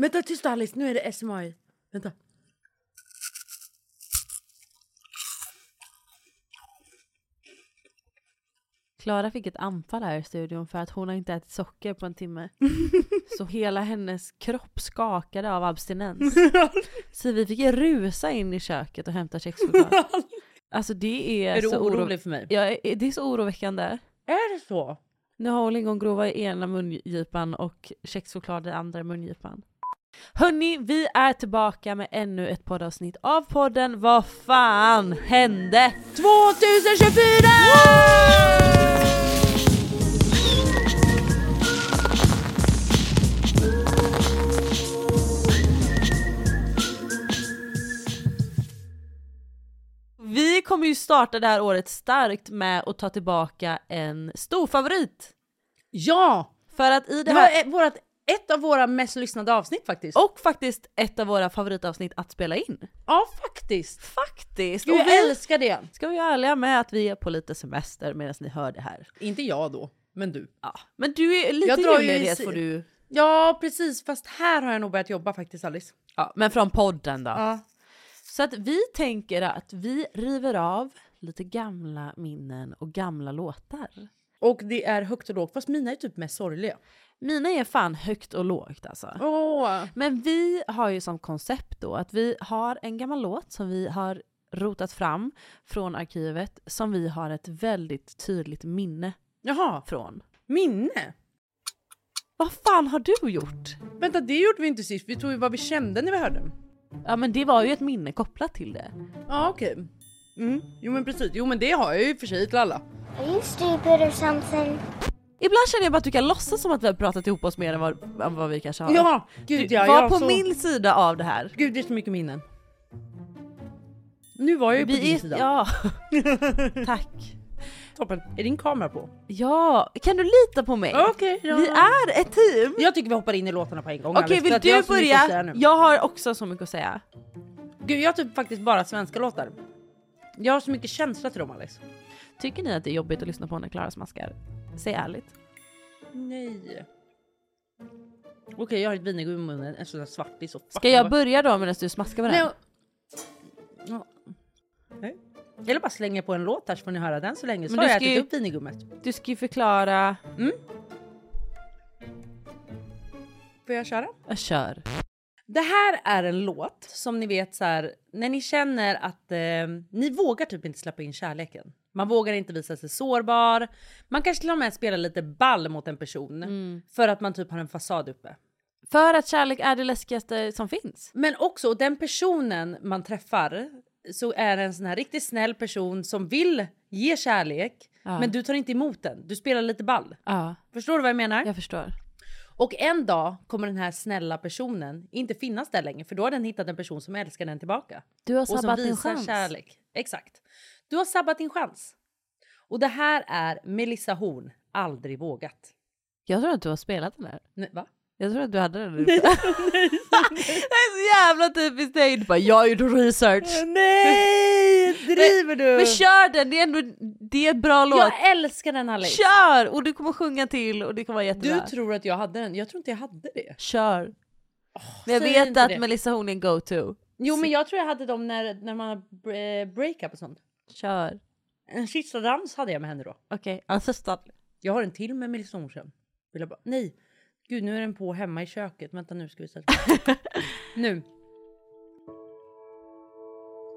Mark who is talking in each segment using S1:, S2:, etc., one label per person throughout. S1: Vänta, tyst Alice. Nu är det SMI. Vänta.
S2: Klara fick ett anfall här i studion för att hon har inte ätit socker på en timme. Så hela hennes kropp skakade av abstinens. Så vi fick rusa in i köket och hämta kexchoklad. Alltså det är,
S1: är du
S2: så
S1: orolig för mig?
S2: Ja, eh, det är så oroväckande.
S1: Är det så?
S2: Nu har hon lingongrova i ena mungipan och kexchoklad i andra mungipan. Hörni, vi är tillbaka med ännu ett poddavsnitt av podden Vad fan hände?
S1: 2024!
S2: Vi kommer ju starta det här året starkt med att ta tillbaka en stor favorit.
S1: Ja!
S2: För att i det
S1: Det var
S2: här,
S1: ett, vårat, ett av våra mest lyssnade avsnitt faktiskt.
S2: och faktiskt ett av våra favoritavsnitt att spela in.
S1: Ja, faktiskt.
S2: Faktiskt!
S1: Gud,
S2: Och
S1: jag
S2: vi
S1: älskar det.
S2: ska vi vara ärliga med att vi är på lite semester medan ni hör det här.
S1: Inte jag då, men du.
S2: Ja. Men du är lite
S1: Jag drar ju i
S2: julledighet
S1: si-
S2: får du.
S1: Ja, precis. Fast här har jag nog börjat jobba faktiskt, Alice.
S2: Ja, men från podden då.
S1: Ja.
S2: Så att vi tänker att vi river av lite gamla minnen och gamla låtar.
S1: Och det är högt och lågt, fast mina är typ mest sorgliga.
S2: Mina är fan högt och lågt alltså.
S1: Åh!
S2: Men vi har ju som koncept då att vi har en gammal låt som vi har rotat fram från arkivet som vi har ett väldigt tydligt minne
S1: Jaha,
S2: från.
S1: minne.
S2: Vad fan har du gjort?
S1: Vänta, det gjorde vi inte sist. Vi tog ju vad vi kände när vi hörde den.
S2: Ja men det var ju ett minne kopplat till det.
S1: Ja, okej. Mm. Jo, men precis. Jo, men det har jag ju i och för sig till alla.
S3: Are you stupid or something?
S2: Ibland känner jag bara att du kan låtsas som att vi har pratat ihop oss mer än vad, än vad vi kanske har.
S1: Ja,
S2: Du
S1: gud ja.
S2: var
S1: jag
S2: på
S1: så...
S2: min sida av det här.
S1: Gud, det är så mycket minnen. Nu var jag ju på din sida.
S2: Ja. Tack.
S1: Toppen. Är din kamera på?
S2: Ja, kan du lita på mig?
S1: Okej. ja.
S2: Vi är ett team!
S1: Jag tycker vi hoppar in i låtarna på en gång.
S2: Okej,
S1: Alice, för
S2: vill
S1: att jag har
S2: du
S1: så mycket att säga
S2: börja?
S1: nu.
S2: Jag har också så mycket att säga.
S1: Gud, jag har typ faktiskt bara svenska låtar. Jag har så mycket känsla till dem, Alice.
S2: Tycker ni att det är jobbigt att lyssna på när Klara smaskar? Säg ärligt.
S1: Nej. Okej, jag har ett vinägg i munnen. En sån där svartis. och
S2: Ska
S1: fucking
S2: jag
S1: gott.
S2: börja då medan du smaskar på den?
S1: Nej, jag- Nej. Eller bara slänga på en låt här så får ni höra den så länge. Så
S2: Men
S1: har
S2: du
S1: jag
S2: ska
S1: ätit
S2: ju-
S1: upp vinigummet.
S2: Du ska ju förklara.
S1: Får jag köra?
S2: Jag kör.
S1: Det här är en låt som ni vet så här, när ni känner att eh, ni vågar typ inte släppa in kärleken. Man vågar inte visa sig sårbar. Man kanske till och med spelar lite ball mot en person
S2: Mm.
S1: för att man typ har en fasad uppe.
S2: För att kärlek är det läskigaste som finns.
S1: Men också och den personen man träffar så är det en sån här riktigt snäll person som vill ge kärlek
S2: Ja.
S1: men du tar inte emot den. Du spelar lite ball.
S2: Ja,
S1: Förstår du vad jag menar?
S2: jag förstår.
S1: Och en dag kommer den här snälla personen inte finnas där längre för då har den hittat en person som älskar den tillbaka.
S2: Du har
S1: och
S2: sabbat
S1: som
S2: din
S1: visar
S2: chans.
S1: kärlek. Exakt. Du har sabbat din chans. Och det här är Melissa Horn, Aldrig vågat.
S2: Jag tror att du har spelat den där.
S1: Nej, va?
S2: Jag tror att du hade den där ute. Det är så jävla typiskt dig. Du bara, jag har gjort research.
S1: Nej! Driver du?
S2: Men kör den, det är ändå det är en bra låt.
S1: jag älskar den Alice.
S2: Kör! Och du kommer sjunga till och det kommer vara jättebra.
S1: Du tror att jag hade den. Jag tror inte jag hade det.
S2: Kör! Men jag
S1: säg
S2: vet
S1: inte
S2: att
S1: det.
S2: Melissa Horn är en go-to.
S1: Jo men jag tror jag hade dem när, när man har br- eh, breakup och sånt.
S2: Kör!
S1: En sista dans hade jag med henne då.
S2: Okej, alltså start.
S1: Jag har en till med Melissa Horn sen. Vill jag bara, nej. Gud nu är den på hemma i köket. Vänta nu ska vi sätta Nu.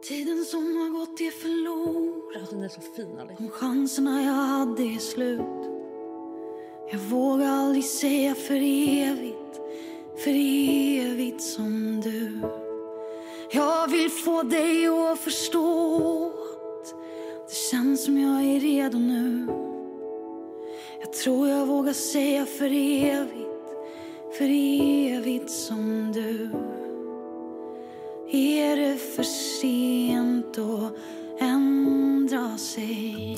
S4: Tiden som har gått är förlorad
S1: Alltså den är så fin Alice.
S4: De chanserna jag hade är slut Jag vågar aldrig säga för evigt För evigt som du Jag vill få dig att förstå att Det känns som jag är redo nu Jag tror jag vågar säga för evigt För evigt som du är det för sent att ändra sig?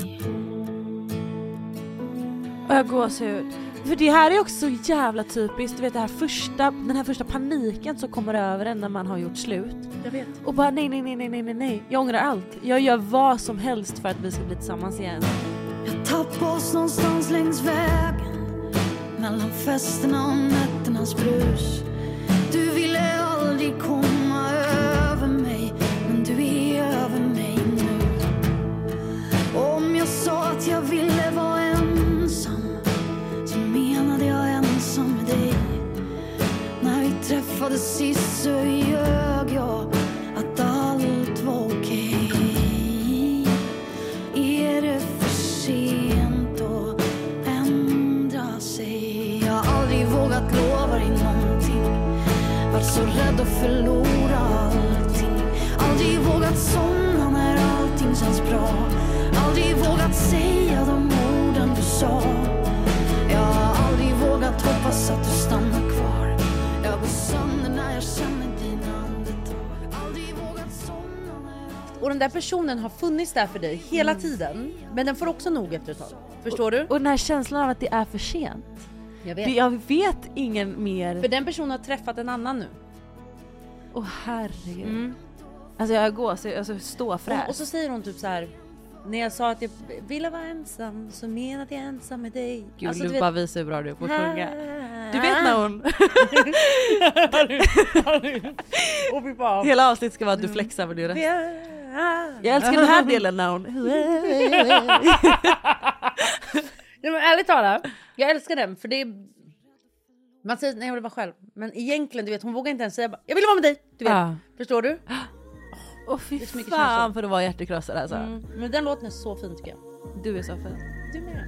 S2: Och jag gåshud. För det här är också så jävla typiskt, du vet det här första, den här första paniken som kommer över en när man har gjort slut.
S1: Jag vet.
S2: Och bara nej, nej, nej, nej, nej, nej, nej. Jag ångrar allt. Jag gör vad som helst för att vi ska bli tillsammans igen.
S4: Jag tappar oss någonstans längs vägen mellan festerna och nätternas brus. Du träffades sist så ljög jag att allt var okej. Är det för sent att ändra sig? Jag har aldrig vågat lova dig någonting. Vart så rädd att förlora allting Aldrig vågat somna när allting känns bra Aldrig vågat säga de orden du sa Jag har aldrig vågat hoppas att du stannar kvar Jag går sönder när jag känner dina andetag Aldrig vågat somna när
S5: Och den där personen har funnits där för dig hela tiden. Men den får också nog efter ett tag. Förstår du?
S1: Mm. Och den här känslan av att det är för sent.
S5: Jag
S1: Det- Jag vet ingen mer.
S5: För den personen har träffat en annan nu.
S1: Åh herregud. Mm. Alltså jag går så jag så står
S5: Och,
S2: alltså,
S5: och så säger hon typ så här. När jag sa att jag ville vara ensam så menade jag ensam med dig.
S1: Gud
S5: Alltså,
S1: du
S5: vet-
S1: bara visar hur bra du är på att sjunga. Du vet
S5: Ah.
S1: när hon...
S5: Och vi bara...
S1: Hela avsnittet ska vara att du flexar men du resten. Jag älskar den här delen när hon...
S5: Nej, men ärligt talat, jag älskar den för det är... Man säger nej jag vill vara själv. Men egentligen du vet hon vågar inte ens säga bara, jag vill vara med dig. Du vet.
S1: Ja.
S5: Förstår du?
S1: Åh fy
S5: är så mycket
S1: fan
S5: känslor.
S1: för att vara hjärtekrossad alltså.
S5: Mm. Men den låten är så fin tycker jag.
S1: Du är så fin.
S5: Du med.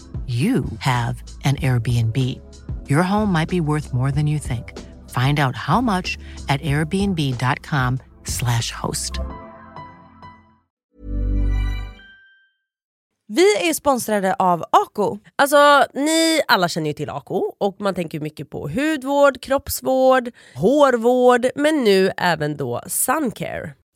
S6: you have an Airbnb. Your home might be worth more than you think. Find out how much at airbnb.com/slash host.
S7: Vi är sponsrade av Ako.
S2: Alltså ni alla känner ju till Ako och man tänker ju mycket på hudvård, kroppsvård, hårvård men nu även då suncare.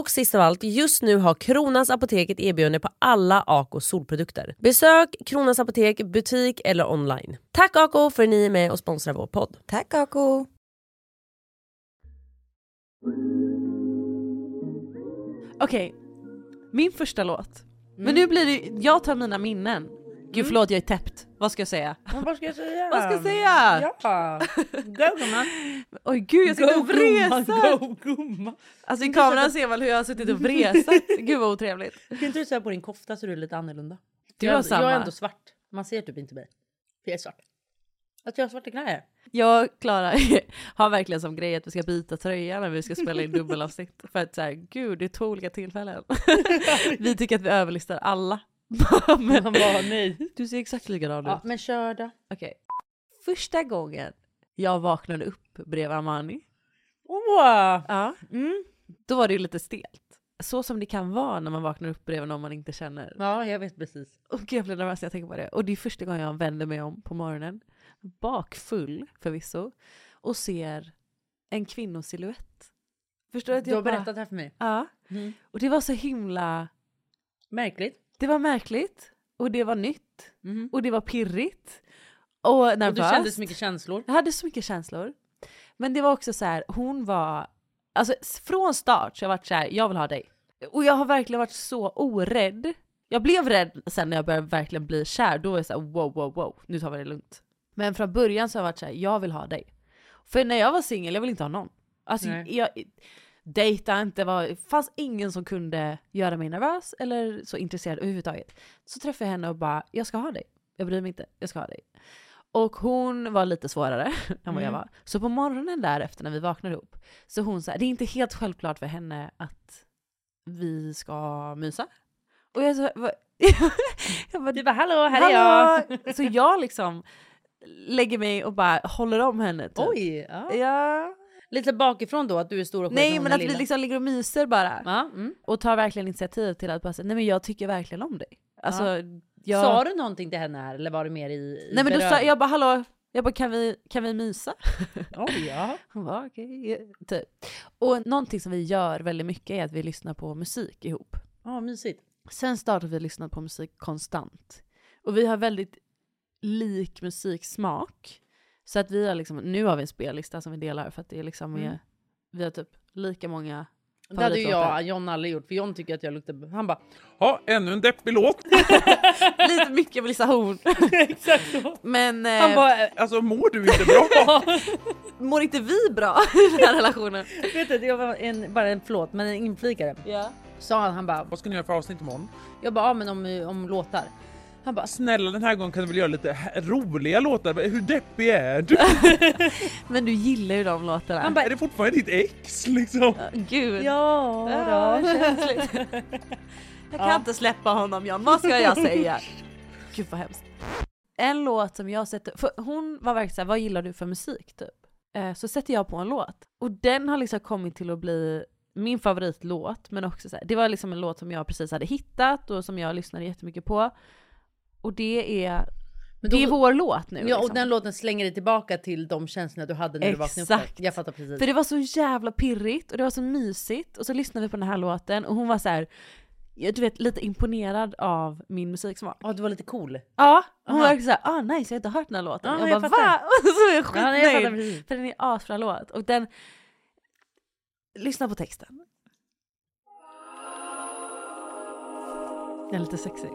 S8: Och sist av allt, just nu har Kronans Apotek ett erbjudande på alla Ako solprodukter. Besök Kronans Apotek, butik eller online. Tack Ako för att ni är med och sponsrar vår podd.
S7: Tack Ako!
S2: Okej, min första låt. Men nu blir det jag tar mina minnen. Gud förlåt jag är täppt, vad ska jag säga?
S1: Men vad ska jag säga?
S2: Vad ska jag säga?
S1: Ja, go gumman.
S2: Oj gud jag sitter och vresar!
S1: Go gumman.
S2: Alltså i kameran ser man hur jag har suttit och vresat, gud vad otrevligt.
S1: Kan inte du säga på din kofta så du är lite annorlunda?
S2: Du
S1: jag,
S2: har samma.
S1: jag är ändå svart. Man ser typ inte mig. För jag är svart. Att jag har svarta knäer.
S2: Jag och Klara har verkligen som grej att vi ska byta tröja när vi ska spela in dubbelavsnitt. För att så här, gud det är två olika tillfällen. vi tycker att vi överlistar alla. Men,
S1: Man bara nej.
S2: du ser exakt likadan ut.
S1: Ja, men kör då.
S2: Okej. Första gången jag vaknade upp bredvid Armani,
S1: Åh!
S2: ja.
S1: Mm.
S2: då var det ju lite stelt. Så som det kan vara när man vaknar upp bredvid någon man inte känner.
S1: Ja, jag vet precis.
S2: Och gud, jag blir nervös när jag tänker på det. Och det är första gången jag vänder mig om på morgonen, bakfull förvisso, och ser en kvinnosilhuett. Förstår du att
S1: Du har
S2: jag bara...
S1: berättat Mm. det här för mig.
S2: Ja. Och det var så himla...
S1: Märkligt.
S2: Det var märkligt, och det var nytt, och det var pirrigt, och nervöst.
S1: Mm. Och du kände så mycket känslor.
S2: Jag hade så mycket känslor. Men det var också så här, hon var... Alltså s- från start så har jag varit så här, jag vill ha dig. Och jag har verkligen varit så orädd. Jag blev rädd sen när jag började verkligen bli kär. Då var jag så här, wow, wow, wow, nu tar vi det lugnt. Men från början så har jag varit så här, jag vill ha dig. För när jag var singel, jag ville inte ha någon. Alltså,
S1: Nej.
S2: jag dejta inte, var, det fanns ingen som kunde göra mig nervös eller så intresserad överhuvudtaget. Så träffade jag henne och bara, jag ska ha dig. Jag bryr mig inte, jag ska ha dig. Och hon var lite svårare än vad
S1: Mm.
S2: jag var. Så på morgonen därefter när vi vaknade upp, så hon sa, det är inte helt självklart för henne att vi ska mysa. Och jag sa, "Va?" jag bara,
S1: Du bara hallå, här är jag.
S2: jag. Så jag liksom lägger mig och bara håller om henne. Typ.
S1: Oj! Ja.
S2: Ja.
S1: Lite bakifrån då, att du är stor och skön och
S2: Nej
S1: hon
S2: men
S1: är
S2: att vi
S1: lilla.
S2: liksom ligger och myser bara.
S1: Ja, mm.
S2: Och tar verkligen initiativ till att bara säga, nej men jag tycker verkligen om dig. Alltså, jag...
S1: Sa du någonting till henne här eller var det mer i, i
S2: Nej men då sa
S1: beröring?
S2: jag bara hallå, jag bara kan vi, kan vi mysa?
S1: Oj, ja.
S2: Hon bara okej. Typ. Och någonting som vi gör väldigt mycket är att vi lyssnar på musik ihop.
S1: Ja, mysigt.
S2: Sen startade vi lyssna på musik konstant. Och vi har väldigt lik musiksmak. Så att vi har liksom, nu har vi en spellista som vi delar för att det är liksom,
S1: Mm.
S2: är- vi har typ lika många
S1: Det hade ju
S2: favoritlåtar.
S1: jag John aldrig gjort för John tycker att jag luktar... Han bara
S2: Eh.
S9: Ja, ännu en deppig låt.
S2: Lite mycket Melissa Horn.
S1: exakt så.
S2: Men
S1: Han
S2: eh,
S1: bara,
S9: Alltså mår du inte bra?
S2: mår inte vi bra i den här relationen?
S1: vet du, jag var en, bara en flåt men en inflikare.
S2: Ja.
S1: Sa han, han bara,
S9: Vad ska ni göra för avsnitt imorgon?
S1: jag bara ja men om, om låtar. Han bara,
S9: Snälla den här gången kan du väl göra lite h- roliga låtar? Hur deppig är du?
S2: Men du gillar ju de låtarna.
S1: Han
S9: Är det fortfarande ditt ex liksom?
S2: Gud.
S1: ja då.
S2: känsligt. Jag kan inte släppa honom John, vad ska jag säga? Gud vad hemskt. En låt som jag sätter, för hon var verkligen såhär, vad gillar du för musik typ? Eh, Så sätter jag på en låt. Och den har liksom kommit till att bli min favoritlåt, men också så här, det var liksom en låt som jag precis hade hittat och som jag lyssnade jättemycket på. Och det är,
S1: Men då-
S2: det är vår låt nu.
S1: Ja och
S2: liksom.
S1: den låten slänger dig tillbaka till de känslorna du hade när du vaknade upp.
S2: Exakt.
S1: där. Jag fattar precis.
S2: För det var så jävla pirrigt och det var så mysigt och så lyssnade vi på den här låten och hon var så här, ja, du vet lite imponerad av min musiksmak.
S1: Ja du var lite cool.
S2: Ja, hon
S1: Aha.
S2: var verkligen såhär ah nice jag har inte hört den här låten.
S1: Ja,
S2: jag,
S1: jag
S2: bara
S1: fattar.
S2: va? Och så är jag
S1: Ja, nej, jag fattar
S2: skitnöjd.
S1: precis.
S2: för den är asbra låt och den, lyssna på texten. Den är lite sexig.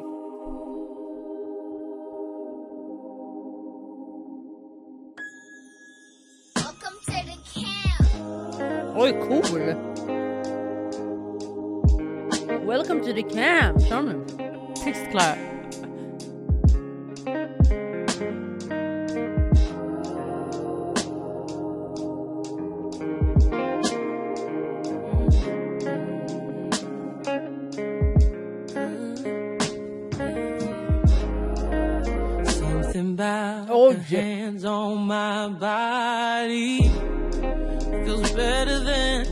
S3: Welcome to the camp.
S1: Oj cool! Welcome to the camp! Kör nu.
S2: Tyst Klara.
S4: Something about
S2: Oh,
S1: Oj!
S4: hands on my body feels better than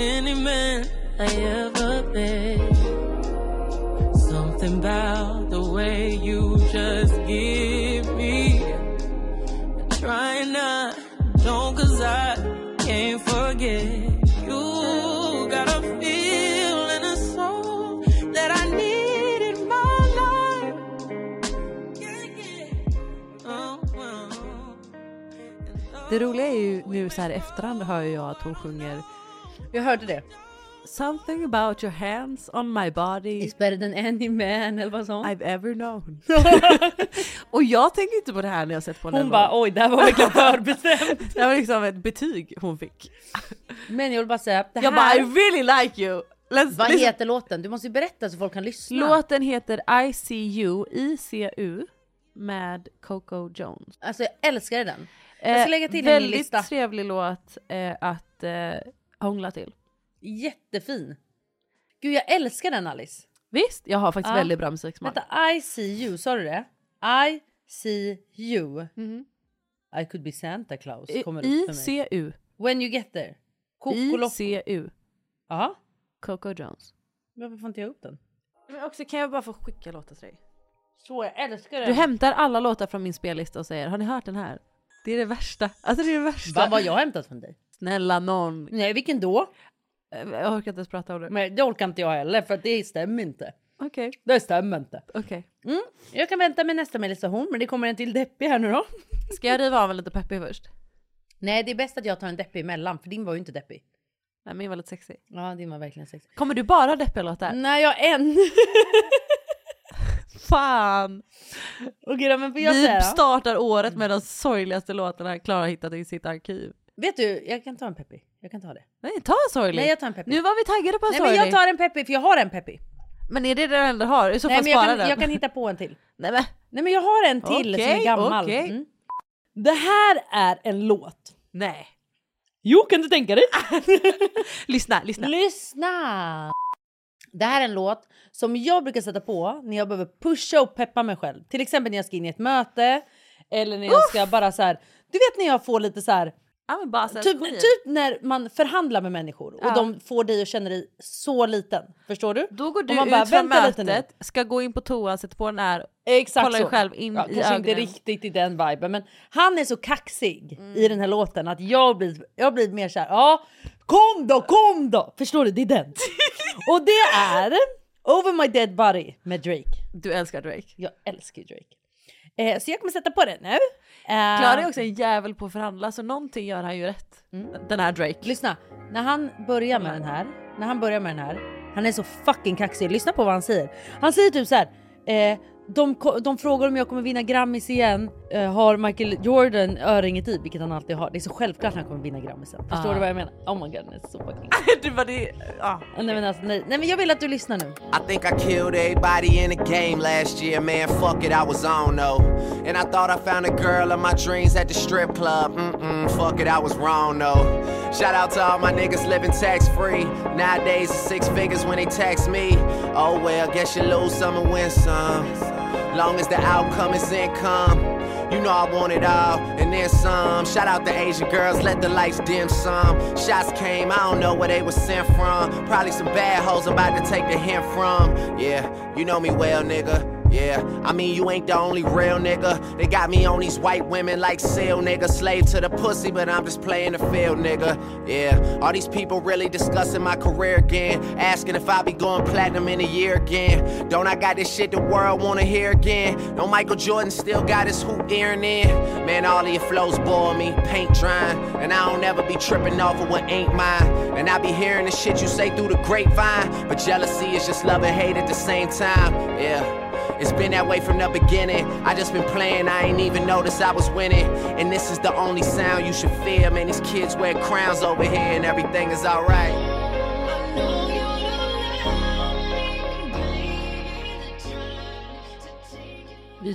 S4: any man I ever been. Something about the way you just give.
S10: better not. No, cause I can't forget. You got a feeling a soul that I need in my life. Oh, oh.
S1: Det roliga är ju nu så här i efterhand hör ju jag att hon sjunger
S2: Jag hörde det.
S1: Something about your hands on my body
S2: It's better than any man eller vad sånt.
S1: I've ever known. och jag tänker inte på det här när jag sett på
S2: Hon bara oj det här var verkligen förbestämt.
S1: det var liksom ett betyg hon fick.
S2: Men jag vill bara säga. Det
S1: jag
S2: här,
S1: bara I really like you! Let's,
S2: vad
S1: listen.
S2: heter låten? Du måste ju berätta så folk kan lyssna.
S1: Låten heter I see you, ICU med Coco Jones.
S2: Alltså jag älskade den. Jag ska
S1: Eh,
S2: lägga till den i min
S1: väldigt
S2: lista.
S1: trevlig låt eh, att eh, hångla till.
S2: Jättefin. Gud jag älskar den Alice.
S1: Visst, jag har faktiskt
S2: Ja.
S1: väldigt bra musiksmak.
S2: Vänta, I see you, sa du det? I see you. I could be Santa Claus
S1: I-
S2: kommer upp för mig.
S1: ICU.
S2: When you get there. Kokolock.
S1: ICU.
S2: Ja.
S1: Coco Jones.
S2: Varför får inte jag upp den?
S1: Men också kan jag bara få skicka låtar till dig?
S2: Så jag älskar den.
S1: Du hämtar alla låtar från min spellista och säger har ni hört den här? Det är det värsta. Alltså det är det värsta.
S2: Va, vad jag har hämtat från dig?
S1: Snälla någon.
S2: Nej vilken då?
S1: Jag orkar inte ens prata om det.
S2: Men det orkar inte jag heller för att det stämmer inte.
S1: Okej.
S2: Det stämmer inte.
S1: Okej.
S2: Mm. Jag kan vänta med nästa meditation men det kommer en till deppig här nu då.
S1: Ska jag riva av en lite peppig först?
S2: Nej det är bäst att jag tar en deppig emellan för din var ju inte deppig.
S1: Nej min var lite sexig.
S2: Ja din var verkligen sexig.
S1: Kommer du bara ha deppiga låtar?
S2: Äh. Nej jag har en.
S1: Fan!
S2: Okej då men får jag säga
S1: Vi
S2: då? Mm.
S1: startar året med de sorgligaste låtarna Klara har hittat i sitt arkiv.
S2: Vet du jag kan ta en peppig. Jag kan ta det.
S1: Nej ta en sorglig!
S2: Nej jag tar en peppig.
S1: Nu var vi taggade på en
S2: Nej men
S1: sorglig!
S2: jag tar en peppig för jag har en peppig.
S1: Men är det det du ändå har? I så
S2: Nej
S1: fall
S2: men jag
S1: spara
S2: kan,
S1: den.
S2: jag kan hitta på en till.
S1: Nej men
S2: Nej men jag har en till som är
S1: Okej,
S2: gammal.
S1: okej.
S2: Mm. Det här är en låt.
S1: nej.
S2: Jo kan du tänka dig?
S1: Lyssna, lyssna.
S2: Lyssna! Det här är en låt som jag brukar sätta på när jag behöver pusha och peppa mig själv. Till exempel när jag ska in i ett möte eller när jag ska bara så här. Du vet när jag får lite så här.
S1: Ja men bara så här,
S2: Typ,
S1: skit.
S2: typ när man förhandlar med människor och
S1: Ja.
S2: de får dig att känna dig så liten. Förstår du?
S1: Då går du
S2: Och man
S1: ut
S2: bara,
S1: från
S2: "Vänta lite nu."
S1: mötet, ska gå in på toan, sätter på den här,
S2: Exakt
S1: kollar
S2: så.
S1: dig själv in
S2: ja,
S1: i
S2: kanske
S1: ögonen.
S2: inte riktigt i den viben men han är så kaxig
S1: Mm.
S2: i den här låten att jag blir, jag blir mer så här, ja kom då, kom då! Förstår du? Det är den. Och det är Over My Dead Body med Drake.
S1: Du älskar Drake.
S2: Jag älskar ju Drake. Eh, så jag kommer sätta på den nu. Eh,
S1: Klara är också en jävel på att förhandla så någonting gör han ju rätt. Den här Drake.
S2: Mm. Lyssna, när han börjar med den här, när han börjar med den här, han är så fucking kaxig. Lyssna på vad han säger. Han säger typ så här. Eh, de, ko- de frågar om jag kommer vinna Grammis igen. Eh, har Michael Jordan öringet i, vilket han alltid har. Det är så självklart han kommer vinna Grammisen. Förstår
S1: Ah.
S2: du vad jag menar? Oh my god, den är så fucking...
S1: du bara det, ah, ja.
S2: nej, men alltså, nej. nej men jag vill att du lyssnar nu.
S11: I think I killed everybody in the game last year, man. Fuck it, I was on though. And I thought I found a girl of my dreams at the strip club. Mm-mm, fuck it, I was wrong though. Shout out to all my niggas living tax free. Nowadays, it's six figures when they tax me. Oh well, guess you lose some and win some. Long as the outcome is income. You know I want it all, and then some. Shout out to Asian girls, let the lights dim some. Shots came, I don't know where they was sent from. Probably some bad hoes about to take the hint from. Yeah, you know me well, nigga. Yeah, I mean, you ain't the only real nigga. They got me on these white women like seal, nigga. Slave to the pussy, but I'm just playing the field, nigga. Yeah, all these people really discussing my career again. Asking if I be going platinum in a year again. Don't I got this shit the world wanna hear again? Don't Michael Jordan still got his hoop earring in? Man, all of your flows bore me, paint drying. And I don't ever be tripping off of what ain't mine. And I be hearing the shit you say through the grapevine. But jealousy is just love and hate at the same time. Yeah. It's been that way from the beginning. I just been playing, I ain't even noticed I was winning. And this is the only sound you should fear. Man, these kids wear crowns over here and everything is alright.
S1: Vi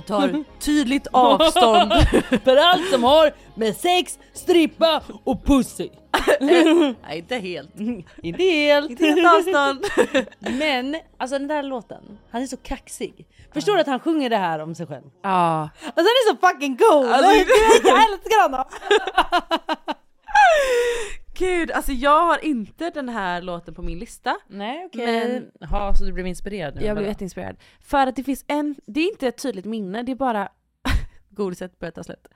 S1: tar tydligt avstånd.
S2: För allt som har med sex, strippa och pussy.
S1: Nej inte helt.
S2: Inte helt.
S1: Inte helt avstånd.
S2: Men alltså den där låten, han är så kaxig. Förstår du att han sjunger det här om sig själv?
S1: Ja.
S2: Alltså han är så fucking cool!
S1: Alltså-
S2: jag älskar honom!
S1: Gud, alltså jag har inte den här låten på min lista.
S2: Nej okej.
S1: Men-
S2: Ja så du blev inspirerad nu?
S1: Jag blev jätteinspirerad. För att det finns en, det är inte ett tydligt minne, det är bara godiset börjar ta slut.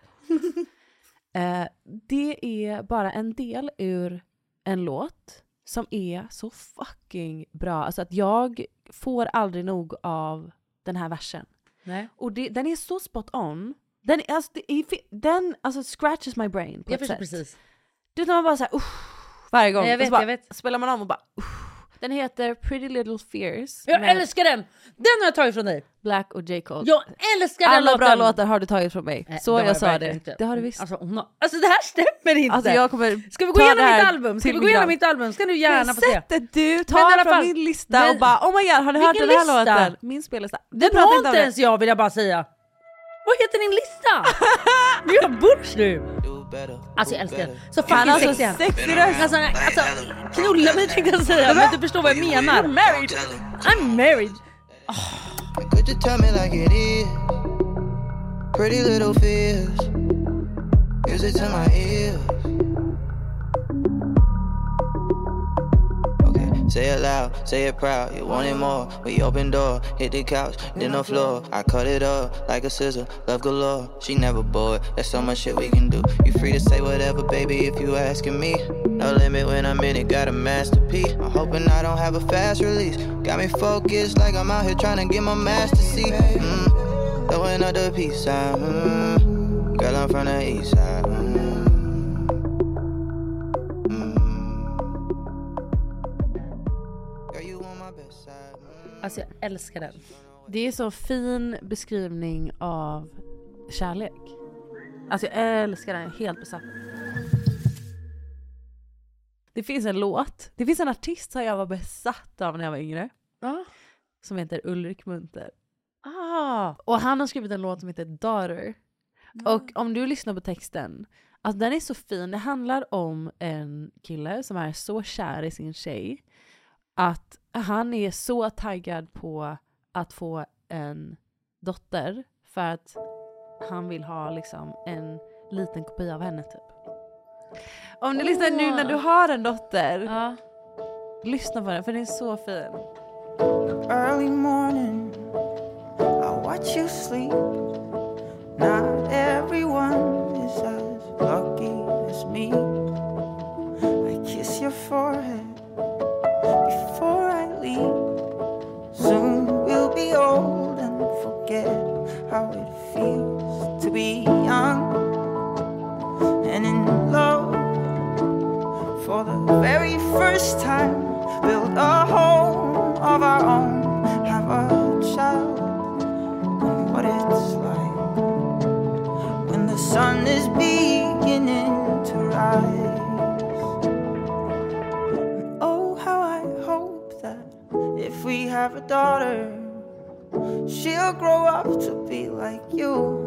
S2: Eh, det är bara en del ur en låt som är så fucking bra. Alltså att jag får aldrig nog av den här versen.
S1: Nej.
S2: Och det, den är så spot on. Den, är- alltså, det är, fi- den alltså, scratches my brain på
S1: Jag
S2: ett
S1: förstår
S2: sätt.
S1: precis.
S2: Du vet när man bara såhär usch varje gång.
S1: Nej, jag
S2: Och så
S1: vet,
S2: bara,
S1: jag vet.
S2: spelar man om och bara usch. Den heter Pretty Little Fears.
S1: Jag
S2: med
S1: älskar den! Den har jag tagit från dig.
S2: Black och J. Cole.
S1: Jag älskar den
S2: Alla
S1: låten!
S2: bra låtar har du tagit från mig.
S1: Nej,
S2: så
S1: det Eh, har
S2: jag sa
S1: verkligen
S2: det.
S1: inte.
S2: Det har du visst.
S1: Alltså, hon har, alltså det här stämmer inte!
S2: Alltså, jag kommer
S1: Ska vi gå
S2: ta
S1: igenom
S2: det här
S1: mitt album? Ska
S2: till
S1: vi gå
S2: min grav.
S1: igenom mitt album? Ska du gärna
S2: Men
S1: få se.
S2: sättet du
S1: Men i
S2: tar
S1: alla
S2: från
S1: fall-
S2: min lista
S1: Men-
S2: och bara oh my god har ni hört
S1: Vilken
S2: den här
S1: lista?
S2: låten? Min spellista. Vi
S1: Den
S2: pratar
S1: har
S2: inte om
S1: inte
S2: det.
S1: ens jag vill jag bara säga. Vad heter din lista? Du gör butch nu! Alltså jag älskar den. Så
S2: Han
S1: fucking
S2: har så
S1: sexig han.
S2: sexig röst.
S1: Alltså, nej, alltså knulla mig tänkte jag säga men du förstår vad jag menar. I'm married! I'm married!
S12: Could you tell me like it is? Pretty little fears. Music to my ears. Okay, say it loud, say it proud. You want it more. We open door, hit the couch, then the floor. I cut it up like a scissor. Love galore. She never bored. There's so much shit we can do. You free to say whatever, baby, if you asking me. No limit when I'm in it, got a masterpiece. I'm hoping I don't have a fast release. Got me focused like I'm out here trying to get my master C. Mm, throwing up the peace sign. Mm, girl, I'm from the east side. Mm.
S1: Alltså jag älskar den.
S2: Det är så fin beskrivning av kärlek. Alltså jag älskar den, helt besatt. Det finns en låt, det finns en artist som jag var besatt av när jag var yngre. Som heter Ulrik Munter.
S1: Ah.
S2: Och han har skrivit en låt som heter Daughter. Och om du lyssnar på texten, alltså den är så fin. Det handlar om en kille som är så kär i sin tjej att han är så taggad på att få en dotter för att han vill ha liksom en liten kopia av henne typ. Om du lyssnar nu
S1: Ah.
S2: när du har en dotter, lyssna på den för den är så fin.
S13: Early morning, I watch you sleep. Not everyone is as lucky as me. I kiss your forehead before I leave. Soon we'll be old and forget how it feels to be young and in love for the very first time. Build a home of our own, have a child, and what it's like when the sun is beginning to rise. And oh, how I hope that if we have a daughter, she'll grow up to be like you.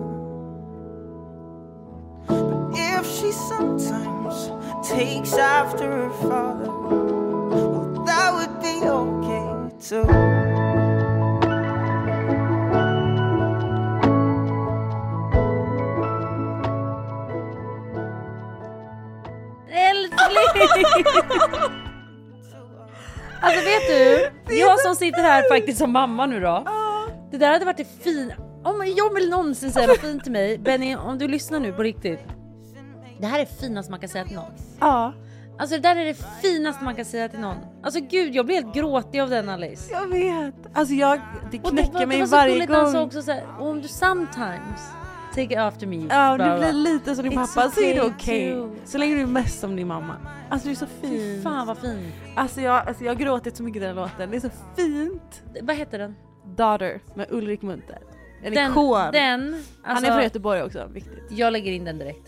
S13: But if she sometimes takes after her father, well, that would be okay too.
S1: Älskling! Alltså vet du, jag som sitter här faktiskt som mamma nu då. Det där hade varit det fina. Om jag vill någonsin säga något fint till mig, Benny om du lyssnar nu på riktigt. Det här är det finaste man kan säga till någon.
S2: Ja.
S1: Alltså det där är det finaste man kan säga till någon. Alltså gud jag blir helt gråtig av den Alice.
S2: Jag vet. Alltså jag, det
S1: Och
S2: knäcker
S1: det,
S2: mig
S1: det var så
S2: varje
S1: gulligt när
S2: gång.
S1: Han sa också så här, om du sometimes take it after me.
S2: Ja, om du
S1: bla, bla, bla.
S2: blir lite som din
S1: It's
S2: pappa så är det
S1: okay
S2: okej.
S1: too.
S2: Så länge du är mest som din mamma. Alltså det är så fint.
S1: Fy fan vad fint.
S2: Alltså jag, alltså jag har gråtit så mycket i den här låten. Det är så fint.
S1: Vad heter den?
S2: Daughter med Ulrik Munter. En
S1: Den-
S2: ikon.
S1: den,
S2: Han
S1: alltså-
S2: är från Göteborg också, viktigt.
S1: Jag lägger in den direkt.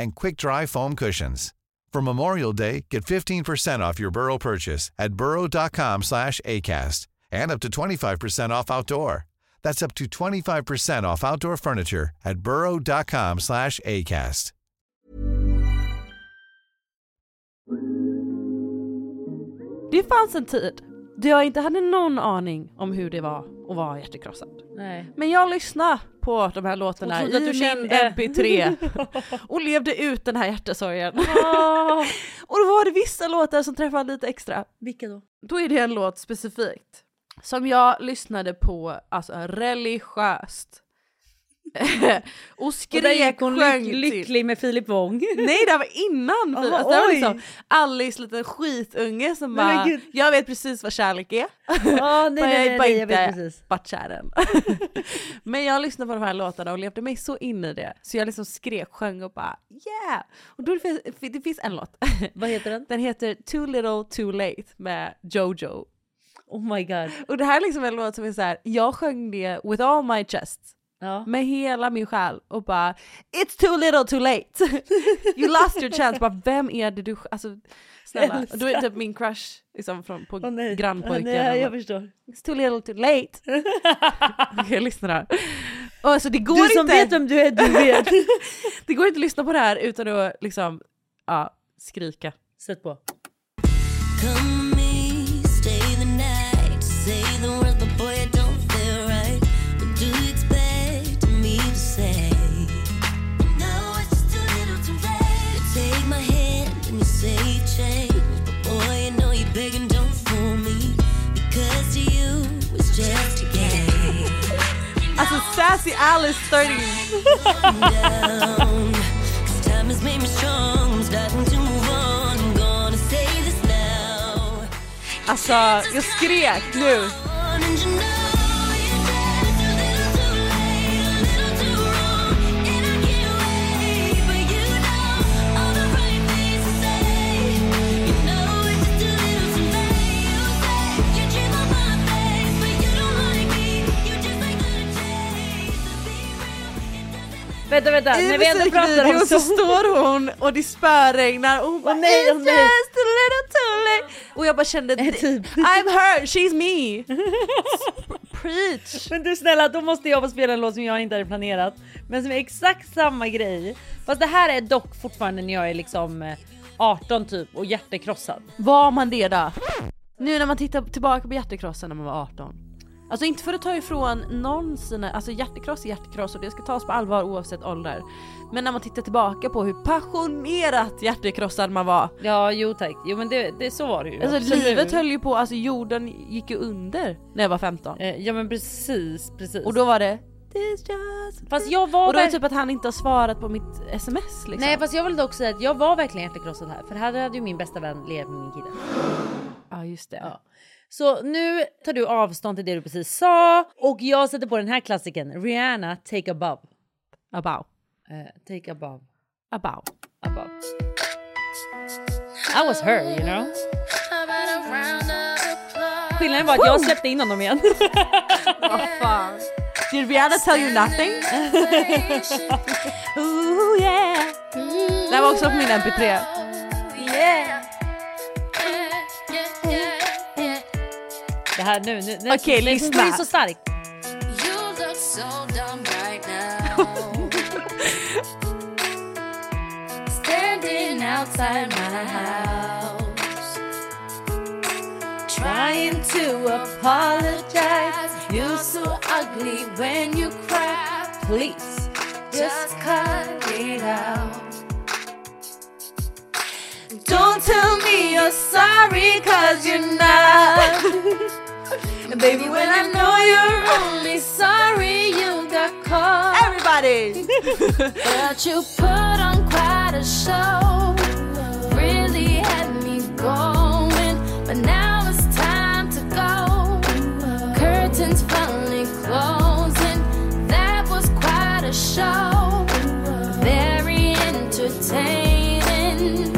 S14: and quick-dry foam cushions. For Memorial Day, get 15% off your Burrow purchase at burrow.com/acast and up to 25% off outdoor. That's up to 25% off outdoor furniture at burrow.com/acast.
S2: Det fanns en tid då jag inte hade någon aning om hur det var att vara hjärtekrossad.
S1: Nej.
S2: Men jag lyssnade på de här
S1: Och
S2: låtarna i
S1: trodde att du
S2: min
S1: kände.
S2: mp3 och levde ut den här hjärtesorgen.
S1: Ah.
S2: och då var det vissa låtar som träffade lite extra.
S1: Vilka då?
S2: Då är det en låt specifikt som jag lyssnade på alltså religiöst. och skrek
S1: Och där gick hon
S2: sjöng typ.
S1: lyck-
S2: till.
S1: lycklig med Filip Wång.
S2: Nej det här var innan!
S1: Jaha,
S2: Filip. alltså, det här var
S1: oj.
S2: liksom Alice liten skitunge som
S1: Nej, men
S2: bara
S1: gud.
S2: “jag vet precis vad kärlek är”.
S1: Ja, nej,
S2: Men jag
S1: nej, nej,
S2: bara
S1: nej, jag vet
S2: inte
S1: precis.
S2: varit kär än. Men jag lyssnade på de här låtarna och levde mig så in i det så jag liksom skrek, sjöng och bara “yeah”. Och då det finns, det finns en låt.
S1: Vad heter den?
S2: Den heter “Too little too late” med Jojo.
S1: Oh my god.
S2: Och det här är liksom en låt som är så här, jag sjöng det with all my chest. Med hela min själ och bara It's too little too late! You lost your chance! Bara, vem är det du... Alltså snälla.
S1: Älskar.
S2: Och då är det typ min crush liksom, från, på
S1: nej.
S2: grannpojken.
S1: Ja, nej, jag
S2: Och bara,
S1: förstår.
S2: It's too little too late! Okej, lyssna här. Och alltså, det går
S1: Du
S2: inte...
S1: som vet vem du är, du vet.
S2: det går inte att lyssna på det här utan att liksom, ja, skrika.
S1: Sätt på.
S15: Come with me, stay the night. Say the words, but boy, it don't feel right. What do you expect me to say? No, it's just too little too late. You take my hand and you say you changed, but boy, you know you're big and don't fool me. Because to you, it's just a game.
S2: Alltså Sassy Alice 30.
S15: Cause time has made me strong, I'm starting to move on. I'm gonna say this now.
S2: Alltså jag skrek nu.
S1: Vänta, vänta.
S2: I
S1: När vi ändå pratar om
S2: musikvideon så
S1: sång-
S2: står hon och det spöregnar och hon bara
S1: nej,
S2: It's
S1: åh nej."
S2: just a little too late Och jag bara kände I'm her, she's me! Preach!
S1: Men du snälla, då måste jag få spela en låt som jag inte hade planerat. Men som är exakt samma grej. Fast det här är dock fortfarande när jag är liksom eh, 18 typ och hjärtekrossad.
S2: Var man det då? Nu när man tittar tillbaka på hjärtekrossen när man var 18 Alltså inte för att ta ifrån någon sina, alltså hjärtekross är hjärtekross och det ska tas på allvar oavsett ålder Men när man tittar tillbaka på hur passionerat hjärtekrossad man var
S1: Ja, jo tack. Jo men det, det, så var det ju.
S2: Alltså
S1: absolut.
S2: livet höll ju på, alltså jorden gick ju under när jag var 15
S1: Eh, Ja men precis, precis.
S2: Och då var det
S1: Fast jag var
S2: Och då är det
S1: verk-
S2: typ att han inte har svarat på mitt sms liksom.
S1: Nej fast jag vill dock säga att jag var verkligen hjärtekrossad här. För här hade ju min bästa vän levt med min kille.
S2: Ja just det.
S1: Så nu tar du avstånd till det du precis sa och jag sätter på den här klassiken Rihanna Take Above.
S2: Above.
S1: take Above.
S2: Above.
S1: Above. I was her you know. Skillnaden var att jag släppte in honom igen.
S2: Did Rihanna tell you nothing? Ooh, yeah. Det här var också på min mp3.
S1: Det här nu, nu, nu
S2: Okej,
S1: nu-
S2: lyssna.
S1: Det är så starkt.
S15: Standing outside my house, trying to apologize. You're so ugly when you cry. Please just cut it out.
S16: Don't tell me you're sorry, cause you're not. Baby, when I know you're only sorry you got caught. Everybody! but you put on quite a show. Really had me going. But now it's time to go. Curtains finally closing. That was quite a show. Very entertaining.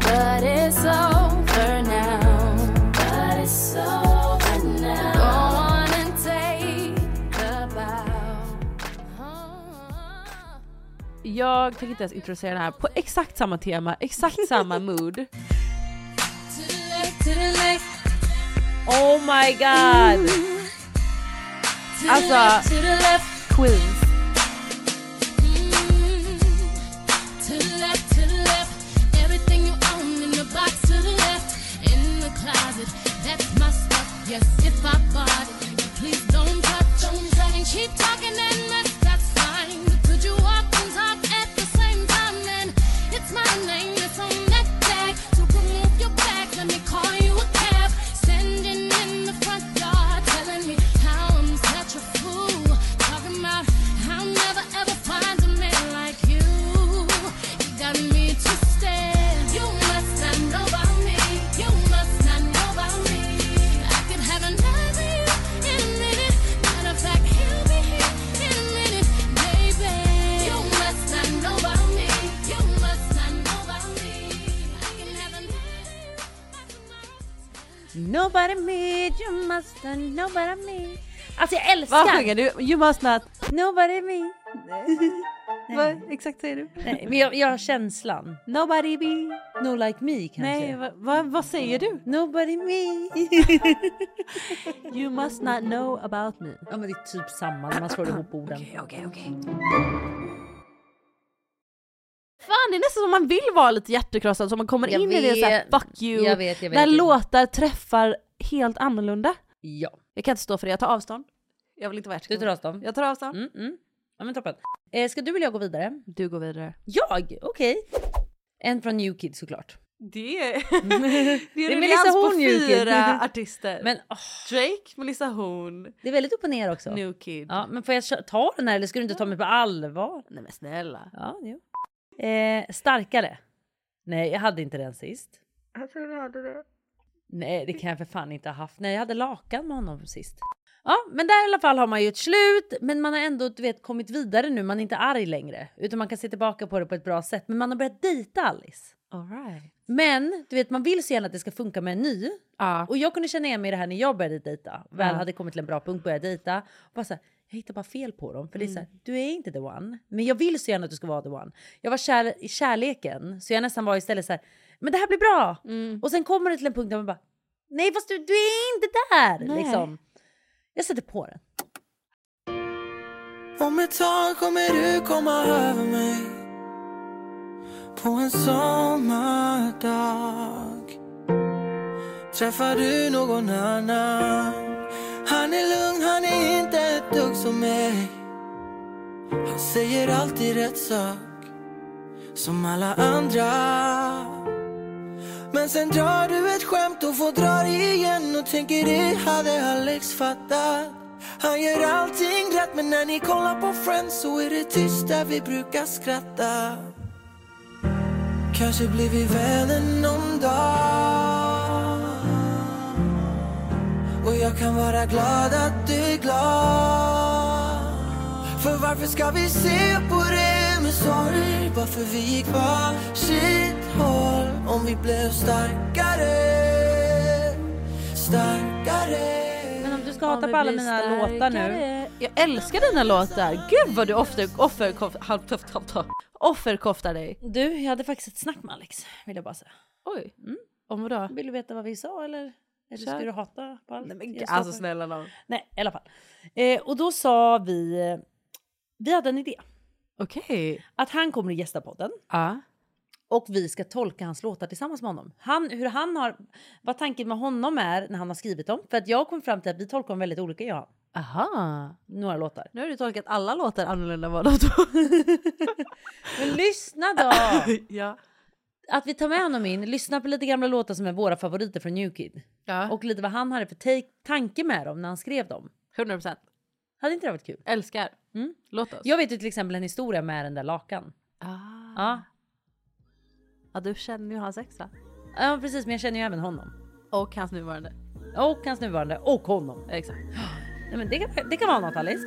S16: But it's over now. But it's over now. Go on and take a bow. Uh-huh.
S1: Jag tänker inte ens introducera det här på exakt samma tema, exakt samma mood. Oh my god! Alltså, Queens.
S16: To the left, to the left. Everything you own in the box to the left. In the closet, that's my stuff. Yes, if I bought it, please don't touch. Don't touch. And keep talking and mess, that's fine. But could you walk and talk at the same time? And it's my name that's on that tag. So remove your back, let me call you a cab. Standing in the front yard, telling me how I'm such a fool. Talking about how I'll never ever find a man like you. You got me twisted. You must not know about me. You must not know about me. I could have another you in a minute. Matter of fact, he'll be here in a minute, baby. You must not know about me. You must not know about me. I can have another.
S2: Nobody me, you must not nobody me. Alltså jag älskar...
S1: Vad sjunger du? You must not...
S2: Nobody me.
S1: Vad exakt säger du?
S2: Nej, men jag, jag har känslan.
S1: Nobody me.
S2: No like me kanske.
S1: Nej, va, va, vad säger du?
S2: Nobody me.
S1: you must not know about me.
S2: Ja men det är typ samma när man slår ihop orden. Okej
S1: okej Fan det är nästan som man vill vara lite hjärtekrossad så man kommer
S2: Jag
S1: in i det såhär
S2: vet.
S1: fuck you.
S2: Jag vet, jag vet,
S1: Där
S2: jag vet.
S1: låtar träffar helt annorlunda.
S2: Ja.
S1: Jag kan inte stå för det, jag tar avstånd. Jag vill inte vara
S2: Du
S1: hjärtekrossad.
S2: tar avstånd?
S1: Jag tar avstånd.
S2: Mm, mm. Ja men toppen. Eh, ska du eller jag gå vidare?
S1: Du går vidare.
S2: Jag? Okej. En från New Kids såklart.
S1: Det är,
S2: Det
S1: det
S2: är
S1: är en
S2: Melissa
S1: ruljans på
S2: Horn, New Kid.
S1: fyra artister.
S2: Men,
S1: Drake, Melissa Horn,
S2: Det är väldigt upp och ner också.
S1: New Kid.
S2: Ja, men får jag kö- ta den här eller ska du inte ta mig på allvar?
S1: Nej men snälla.
S2: Ja, jo. Eh, starkare. Nej, jag hade inte den sist.
S17: Jag tror du hade det.
S2: Nej, det kan jag för fan inte ha haft. Nej, jag hade lakan med honom sist. Ja, men där i alla fall har man ju ett slut, men man har ändå du vet, kommit vidare nu. Man är inte arg längre, utan man kan se tillbaka på det på ett bra sätt. Men man har börjat dejta Alice.
S1: All right.
S2: Men du vet, man vill så gärna att det ska funka med en ny. Och jag kunde känna igen mig i det här när jag började dejta. Väl
S1: Ja.
S2: hade kommit till en bra punkt, började dejta. Och bara så här, jag hittar bara fel på dem. För det är så här, du är inte the one. Men jag vill så gärna att du ska vara the one. Jag var kär i kärleken, så jag nästan var istället så här, men det här blir bra. Och sen kommer det till en punkt där man bara, nej fast du, du är inte där.
S16: Nej.
S2: Liksom. Jag sätter på den.
S5: Om ett tag kommer du komma över mig på en sommardag Träffar du någon annan Han är lugn, han är inte ett dugg som mig Han säger alltid rätt sak som alla andra Men sen drar du ett skämt och får dra det igen och tänker det hade Alex fattat han gör allting rätt men när ni kollar på Friends så är det tyst där vi brukar skratta Kanske blir vi vänner någon dag Och jag kan vara glad att du är glad För varför ska vi se på det med sorg bara för vi gick varsitt håll Om vi blev starkare, starkare
S2: Men om du ska hata på alla mina låtar nu.
S1: Jag älskar dina låtar. Gud vad du offer, offerkof, halv, tuff, tuff, tuff, offerkoftar dig.
S2: Du, jag hade faktiskt ett snack med Alex, vill jag bara säga.
S1: Oj, Mm. om vadå?
S2: Vill du veta vad vi sa eller? Eller
S1: Kör.
S2: ska du hata på allt?
S1: Nej, men,
S2: jag står
S1: alltså
S2: för?
S1: snälla nån.
S2: Nej, i alla fall. Eh, och då sa vi, eh, vi hade en idé.
S1: Okej.
S2: Att han kommer att gästa podden.
S1: Ja.
S2: Och vi ska tolka hans låtar tillsammans med honom. Han, hur han har, vad tanken med honom är när han har skrivit dem. För att jag kom fram till att vi tolkar dem väldigt olika jag och han.
S1: Aha.
S2: Några låtar.
S1: Nu har du tolkat alla låtar annorlunda än vad de två.
S2: Men lyssna då!
S1: ja. att vi tar med honom in, lyssnar på lite gamla låtar som är våra favoriter från New Kid. Och lite vad han hade för take, tanke med dem när han skrev dem.
S2: 100%.
S1: Hade inte det varit kul?
S2: Älskar. Mm. Låt oss.
S1: Jag vet ju till exempel en historia med den där lakan.
S2: Ah.
S1: Ja.
S2: ja, du känner ju hans exa.
S1: Ja precis men jag känner ju även honom.
S2: Och hans nuvarande.
S1: Och hans nuvarande och honom.
S2: Exakt.
S1: Nej, men det, kan, det kan vara något Alice.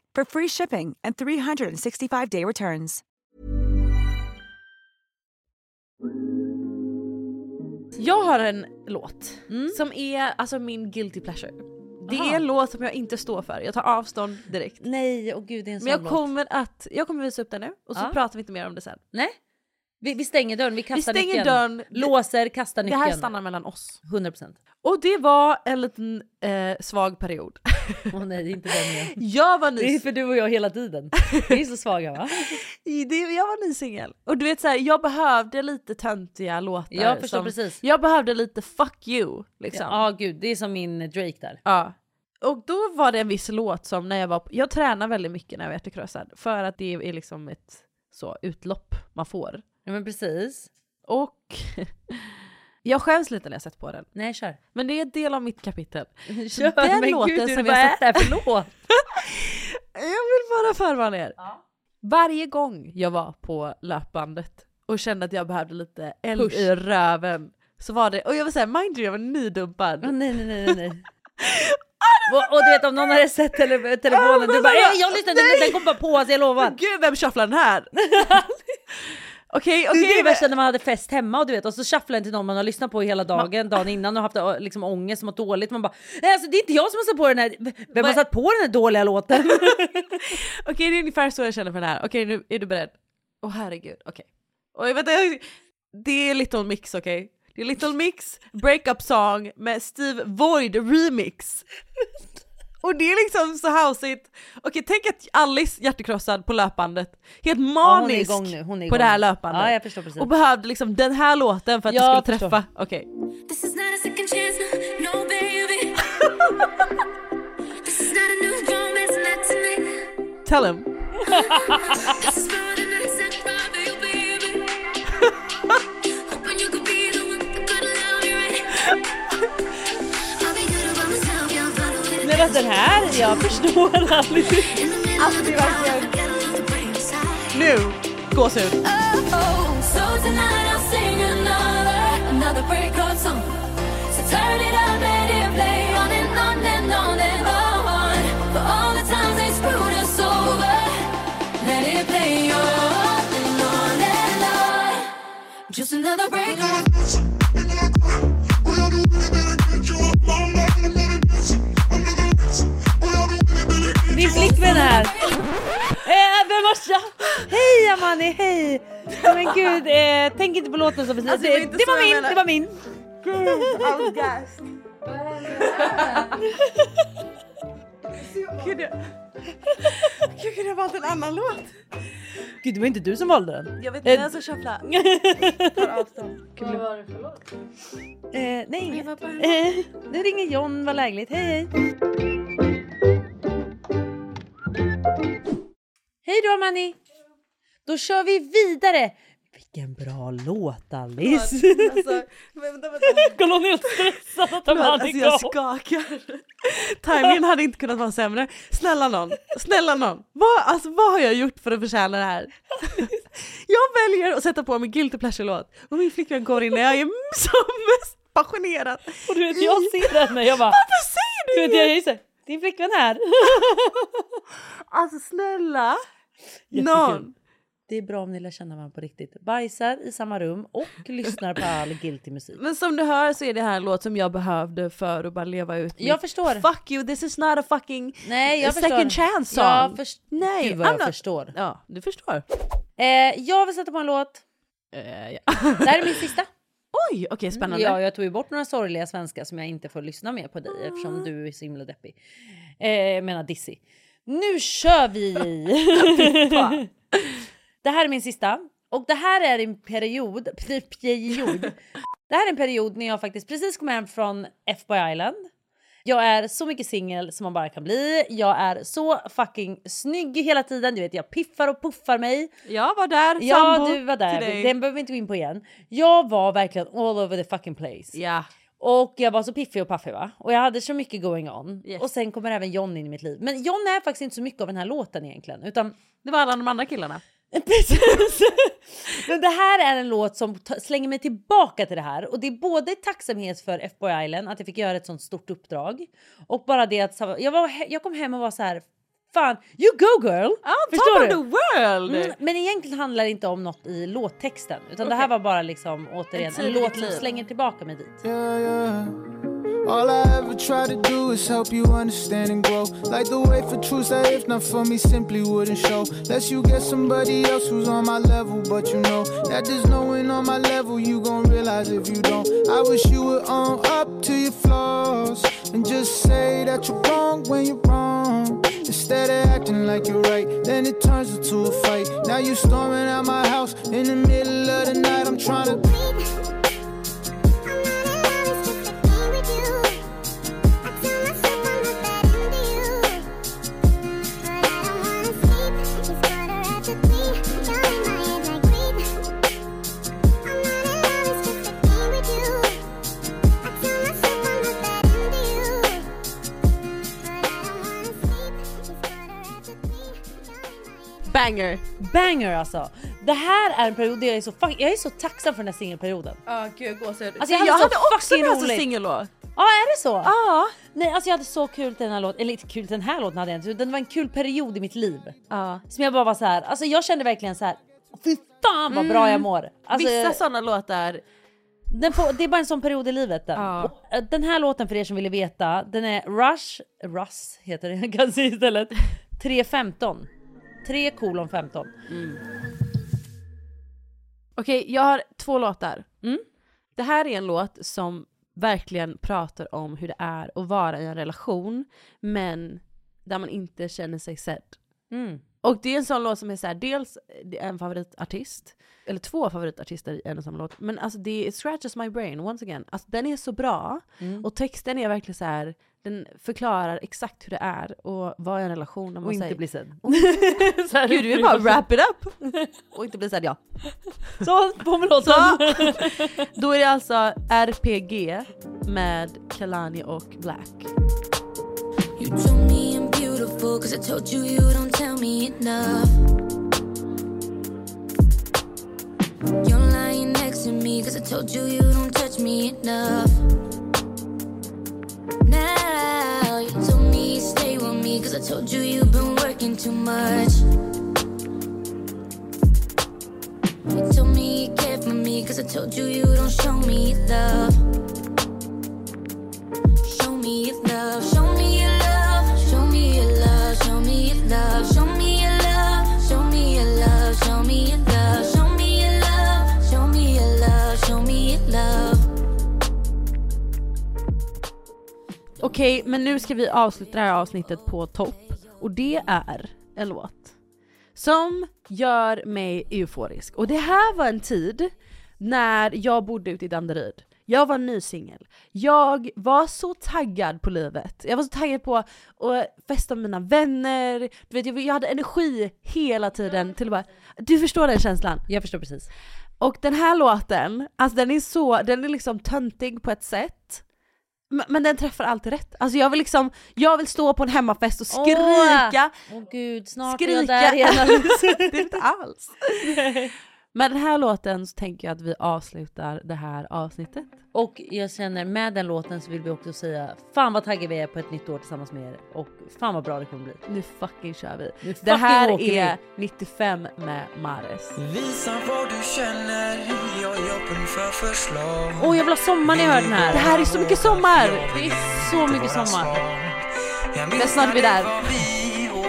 S18: for free shipping and 365-day returns.
S2: Jag har en låt som är alltså min guilty pleasure. Det
S1: Mm. Aha.
S2: är en låt som jag inte står för, jag tar avstånd direkt.
S1: Nej, och gud det är en sån
S2: Men jag
S1: låt.
S2: kommer, att, jag kommer visa upp den nu och så
S1: Ja.
S2: pratar vi inte mer om det sen.
S1: Nej. Vi, vi stänger dörren, vi kastar
S2: stänger
S1: nyckeln.
S2: dörren.
S1: Låser, kastar
S2: Det
S1: nyckeln.
S2: här stannar mellan oss.
S1: 100%.
S2: Och det var en liten eh, svag period.
S1: Åh nej, det är inte den jag.
S2: Jag var
S1: Det är
S2: ny,
S1: för du och jag hela tiden. Vi är så svaga va?
S2: det, jag var ny singel. Och du vet såhär, jag behövde lite töntiga låtar.
S1: Jag förstår precis.
S2: Jag behövde lite fuck you liksom.
S1: Ja ah, gud, det är som min Drake där.
S2: Ja. Och då var det en viss låt som när jag var, jag tränar väldigt mycket när jag var hjärtekrossad för att det är liksom ett så utlopp man får.
S1: Ja men precis.
S2: Och jag skäms lite när jag sett på den.
S1: Nej kör.
S2: Men det är en del av mitt kapitel.
S1: Kör, men gud, du, vad är det här för låt?
S2: jag vill bara förvarna er. Varje gång jag var på löpbandet och kände att jag behövde lite eld
S1: Push.
S2: i röven så var det, och jag var såhär, mind you jag var nydumpad.
S1: nej nej nej nej. Och, och du vet om någon hade sett tele telefonen, du bara "Ey, jag lyssnade inte, den kom bara på sig, jag lovar.
S2: Gud vem shufflar den här? Okej
S1: det är
S2: okej,
S1: det värsta när man hade fest hemma och du vet och så shufflar den till någon man har lyssnat på hela dagen, dagen innan och haft äh, liksom, ångest, mått dåligt. Man bara nej alltså det är inte jag som har satt på den här, vem har satt på den här dåliga låten?
S2: Okej det är ungefär så jag känner för den här. Okej nu är du beredd. Åh herregud, okej. Oj vänta, jag- det är Little Mix okej? Det är Little Mix breakup song med Steve Void remix. Och det är liksom så houseigt. Okej tänk att Alice hjärtekrossad på löpandet, helt
S1: Ja, hon är
S2: manisk
S1: igång nu, hon är
S2: på det här
S1: igång.
S2: löpandet.
S1: Ja, jag förstår precis.
S2: Och behövde liksom den här låten för att
S1: Jag
S2: det skulle
S1: förstår.
S2: träffa. Okej.
S15: This is not a second chance, no, no baby. this is not a new romance, not tonight.
S2: Tell him.
S15: this is for the nights that bother you, baby. Hoping you could be the one that could love me right. I'll be good by myself, yeah, I'll follow it.
S1: Men att den här, jag förstår aldrig.
S15: Alltså det är verkligen...
S2: Nu! Gåshud.
S4: Oh,
S15: Just another break
S1: Min flickvän är här. Eh, vem har tja- Hej Amani, hej! Men gud, eh, tänk inte på låten som precis...
S2: Alltså, det
S1: det,
S2: var
S1: det,
S2: inte så jag
S1: var min,
S2: menar.
S1: det var min!
S2: Gud, jag- Gud, kunde jag valt en annan låt?
S1: Gud, det var inte du som valde den.
S2: Jag vet inte ens att shuffla.
S1: Tar avstånd. Vad var
S2: det för låt?
S1: Eh, nej, inget. eh, nu ringer John, vad lägligt. Hej, hej! Hej då Amani! Då kör vi vidare! Vilken bra låt Alice!
S2: Alltså, vänta, vänta.
S1: Kolla hon är helt stressad att han
S2: Förlåt,
S1: hade
S2: alltså, jag
S1: igång.
S2: skakar. Timingen hade inte kunnat vara sämre. Snälla någon, snälla någon. Vad, alltså, vad har jag gjort för att förtjäna det här?
S1: Jag väljer att sätta på min guilty pleasure-låt och min flickvän går in när jag är som mest passionerad.
S2: Och du vet, jag ser henne, jag bara...
S1: Varför säger du,
S2: Du vet, jag är
S1: inget?
S2: ju såhär, din flickvän här.
S1: Alltså snälla!
S2: Jättekul.
S1: Någon.
S2: Det är bra om ni lär känna varandra på riktigt. Bajsar i samma rum och lyssnar på all guilty musik.
S1: Men som du hör så är det här en låt som jag behövde för att bara leva ut
S2: Jag
S1: mitt
S2: förstår.
S1: Fuck you, this is not a fucking
S2: Nej, jag
S1: second
S2: förstår.
S1: chance song.
S2: Jag först-
S1: Nej,
S2: Gud vad jag
S1: I'm not-
S2: förstår.
S1: Ja, du förstår.
S2: Eh, jag vill sätta på en låt. Det här är min sista.
S1: Oj, okej spännande.
S2: Ja, jag tog ju bort några sorgliga svenska som jag inte får lyssna med på dig eftersom du är så himla deppig. Eh, jag menar dissig. Nu kör vi! det här är min sista. Och det här är en period... period. Det här är en period när jag faktiskt precis kom hem från FBI Island. Jag är så mycket singel som man bara kan bli. Jag är så fucking snygg hela tiden. Du vet, jag piffar och puffar mig.
S1: Jag var där,
S2: Ja,
S1: sambo
S2: du var där.
S1: till dig.
S2: Den behöver vi inte gå in på igen. Jag var verkligen all over the fucking place.
S1: Ja.
S2: Och jag var så piffig och paffig va? Och jag hade så mycket going on.
S1: Yes.
S2: Och sen kommer även John in i mitt liv. Men John är faktiskt inte så mycket av den här låten egentligen. Utan
S1: Det var alla de andra killarna.
S2: men det här är en låt som ta- slänger mig tillbaka till det här. Och det är både tacksamhet för FBO Island, att jag fick göra ett sånt stort uppdrag. Och bara det att så- jag, var, he- jag kom hem och var så här. Fan, you go girl!
S1: top of the world!
S2: Mm, men egentligen handlar det inte om något i låttexten. Utan det här
S1: Typ. Okej.
S2: var bara liksom återigen
S1: En tid i
S2: en
S1: ditt
S2: låt som
S1: liv.
S2: slänger tillbaka mig dit.
S19: All I ever try to do is help you understand and grow. Like the way for truths that if not for me simply wouldn't show. Lest you get somebody else who's on my level, but you know that there's no one on my level. You gon' realize if you don't. I wish you would own up to your flaws and just say that you're wrong when you're wrong. Instead of acting like you're right, then it turns into a fight. Now you storming at my house in the middle of the night. I'm trying to.
S1: Banger!
S2: Banger alltså! Det här är en period där jag är så, fuck, jag är så tacksam för den här singelperioden.
S1: Ja gud gåshud.
S2: Alltså,
S1: Alltså,
S2: jag
S1: jag,
S2: hade så
S1: hade också
S2: fucking
S1: med oss en
S2: roligt.
S1: singellåt.
S2: Ja är det så?
S1: Ja.
S2: Nej alltså jag hade så kul till den här låten, eller inte kul till den här låten hade jag inte, utan det var en kul period i mitt liv.
S1: Ja.
S2: Som jag bara var så här, alltså jag kände verkligen så här, fy fan vad bra
S1: Mm.
S2: jag mår. Alltså,
S1: Vissa sådana låtar.
S2: Den får, det är bara en sån period i livet. Den. Och, eh, den här låten för er som ville veta, den är Rush, Russ heter den kanske istället, 3.15. 3 kolon 15.
S1: Okej, jag har två låtar. Mm. Det här är en låt som verkligen pratar om hur det är att vara i en relation, men där man inte känner sig sedd.
S2: Mm.
S1: Och det är en sån låt som är så här, dels det är en favoritartist, eller två favoritartister i en och samma låt, men alltså det är Scratches My Brain once again. Alltså den är så bra,
S2: Mm.
S1: och texten är verkligen så här, den förklarar exakt hur det är och vad är en relation. när man
S2: Och inte
S1: säger-
S2: bli sedd.
S1: Och- Gud, du vill bara wrap it up! Och inte bli sedd, ja.
S2: Så, på med låten.
S1: Då är det alltså RPG med Kalani och Black.
S20: You told me I'm beautiful, cause I told you you don't tell me enough. You're lying next to me, cause I told you you don't touch me enough. Now, you told me you stay with me, cause I told you you've been working too much. You told me you care for me, cause I told you you don't show me love. Show me your love, show me your love, show me your love, show me your love, show me your love, show me your love, show me your love, show me your love, show me your love, show me your love.
S1: Okej, men nu ska vi avsluta det här avsnittet på topp. Och det är en låt som gör mig euforisk. Och det här var en tid när jag bodde ute i Danderyd. Jag var ny singel. Jag var så taggad på livet. Jag var så taggad på att festa med mina vänner. Du vet, jag- jag hade energi hela tiden till att bara, du förstår den känslan?
S2: Jag förstår precis.
S1: Och den här låten, alltså den är så, den är liksom töntig på ett sätt.
S2: Men, men den träffar alltid rätt. Alltså jag vill liksom, jag vill stå på en hemmafest och skrika.
S15: Åh gud, snart är jag
S2: skrika.
S15: där igen Alice.
S2: det är inte alls. Med den här låten så tänker jag att vi avslutar det här avsnittet.
S15: Och jag känner med den låten så vill vi också säga fan vad taggade vi är på ett nytt år tillsammans med er och fan vad bra det kommer bli.
S2: Nu fucking kör vi.
S15: Nu
S2: Det här
S15: fucking åker
S2: är
S15: vi.
S2: 95 med Mares.
S7: Visa vad du känner, jag är öppen för förslag
S15: Åh jag vill ha sommar när jag hör den här.
S2: Det här är så mycket sommar!
S15: Det är så mycket sommar.
S2: Men snart är vi där.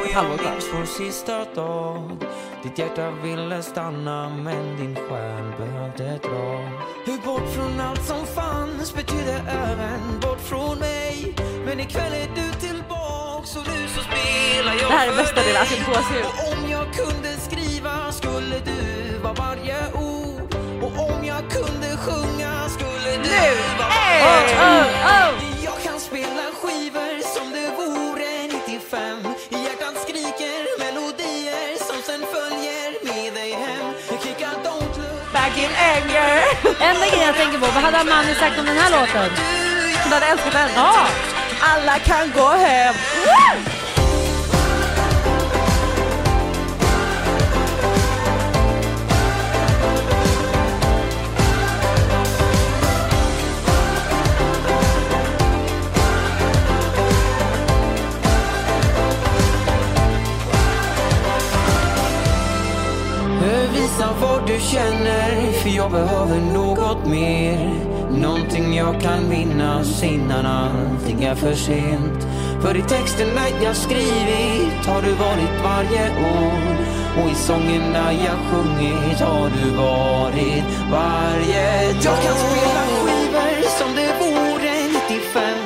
S7: Ett halvår kvar. Vår sista dag Ditt hjärta ville stanna men din själ behövde dra Hur bort från allt som fanns betyder även bort från mig Men ikväll är du tillbaks och nu så spelar jag
S2: Det här är
S7: för
S2: bästa
S7: dig.
S2: delen, alltså det gåshud.
S7: Och om jag kunde skriva skulle du vara varje ord Och om jag kunde sjunga skulle du
S2: Nu!
S7: vara
S2: Ey!
S7: varje ord
S2: Oh, oh, oh!
S7: jag kan spela skivor som det vore 95 Hjärtan skriker melodier som sen följer med dig hem Kick out, don't look
S2: back in anger
S15: Enda grejen jag tänker på, vad hade Amanda sagt om den här låten?
S2: Hon hade älskat den.
S15: Ja!
S2: Alla kan gå hem!
S7: Eh, Visa vad du känner för jag behöver något mer Någonting jag kan minnas innan allting är för sent För i texterna jag skrivit har du varit varje år Och i sångerna jag sjungit har du varit varje dag Jag kan spela skivor som det vore 95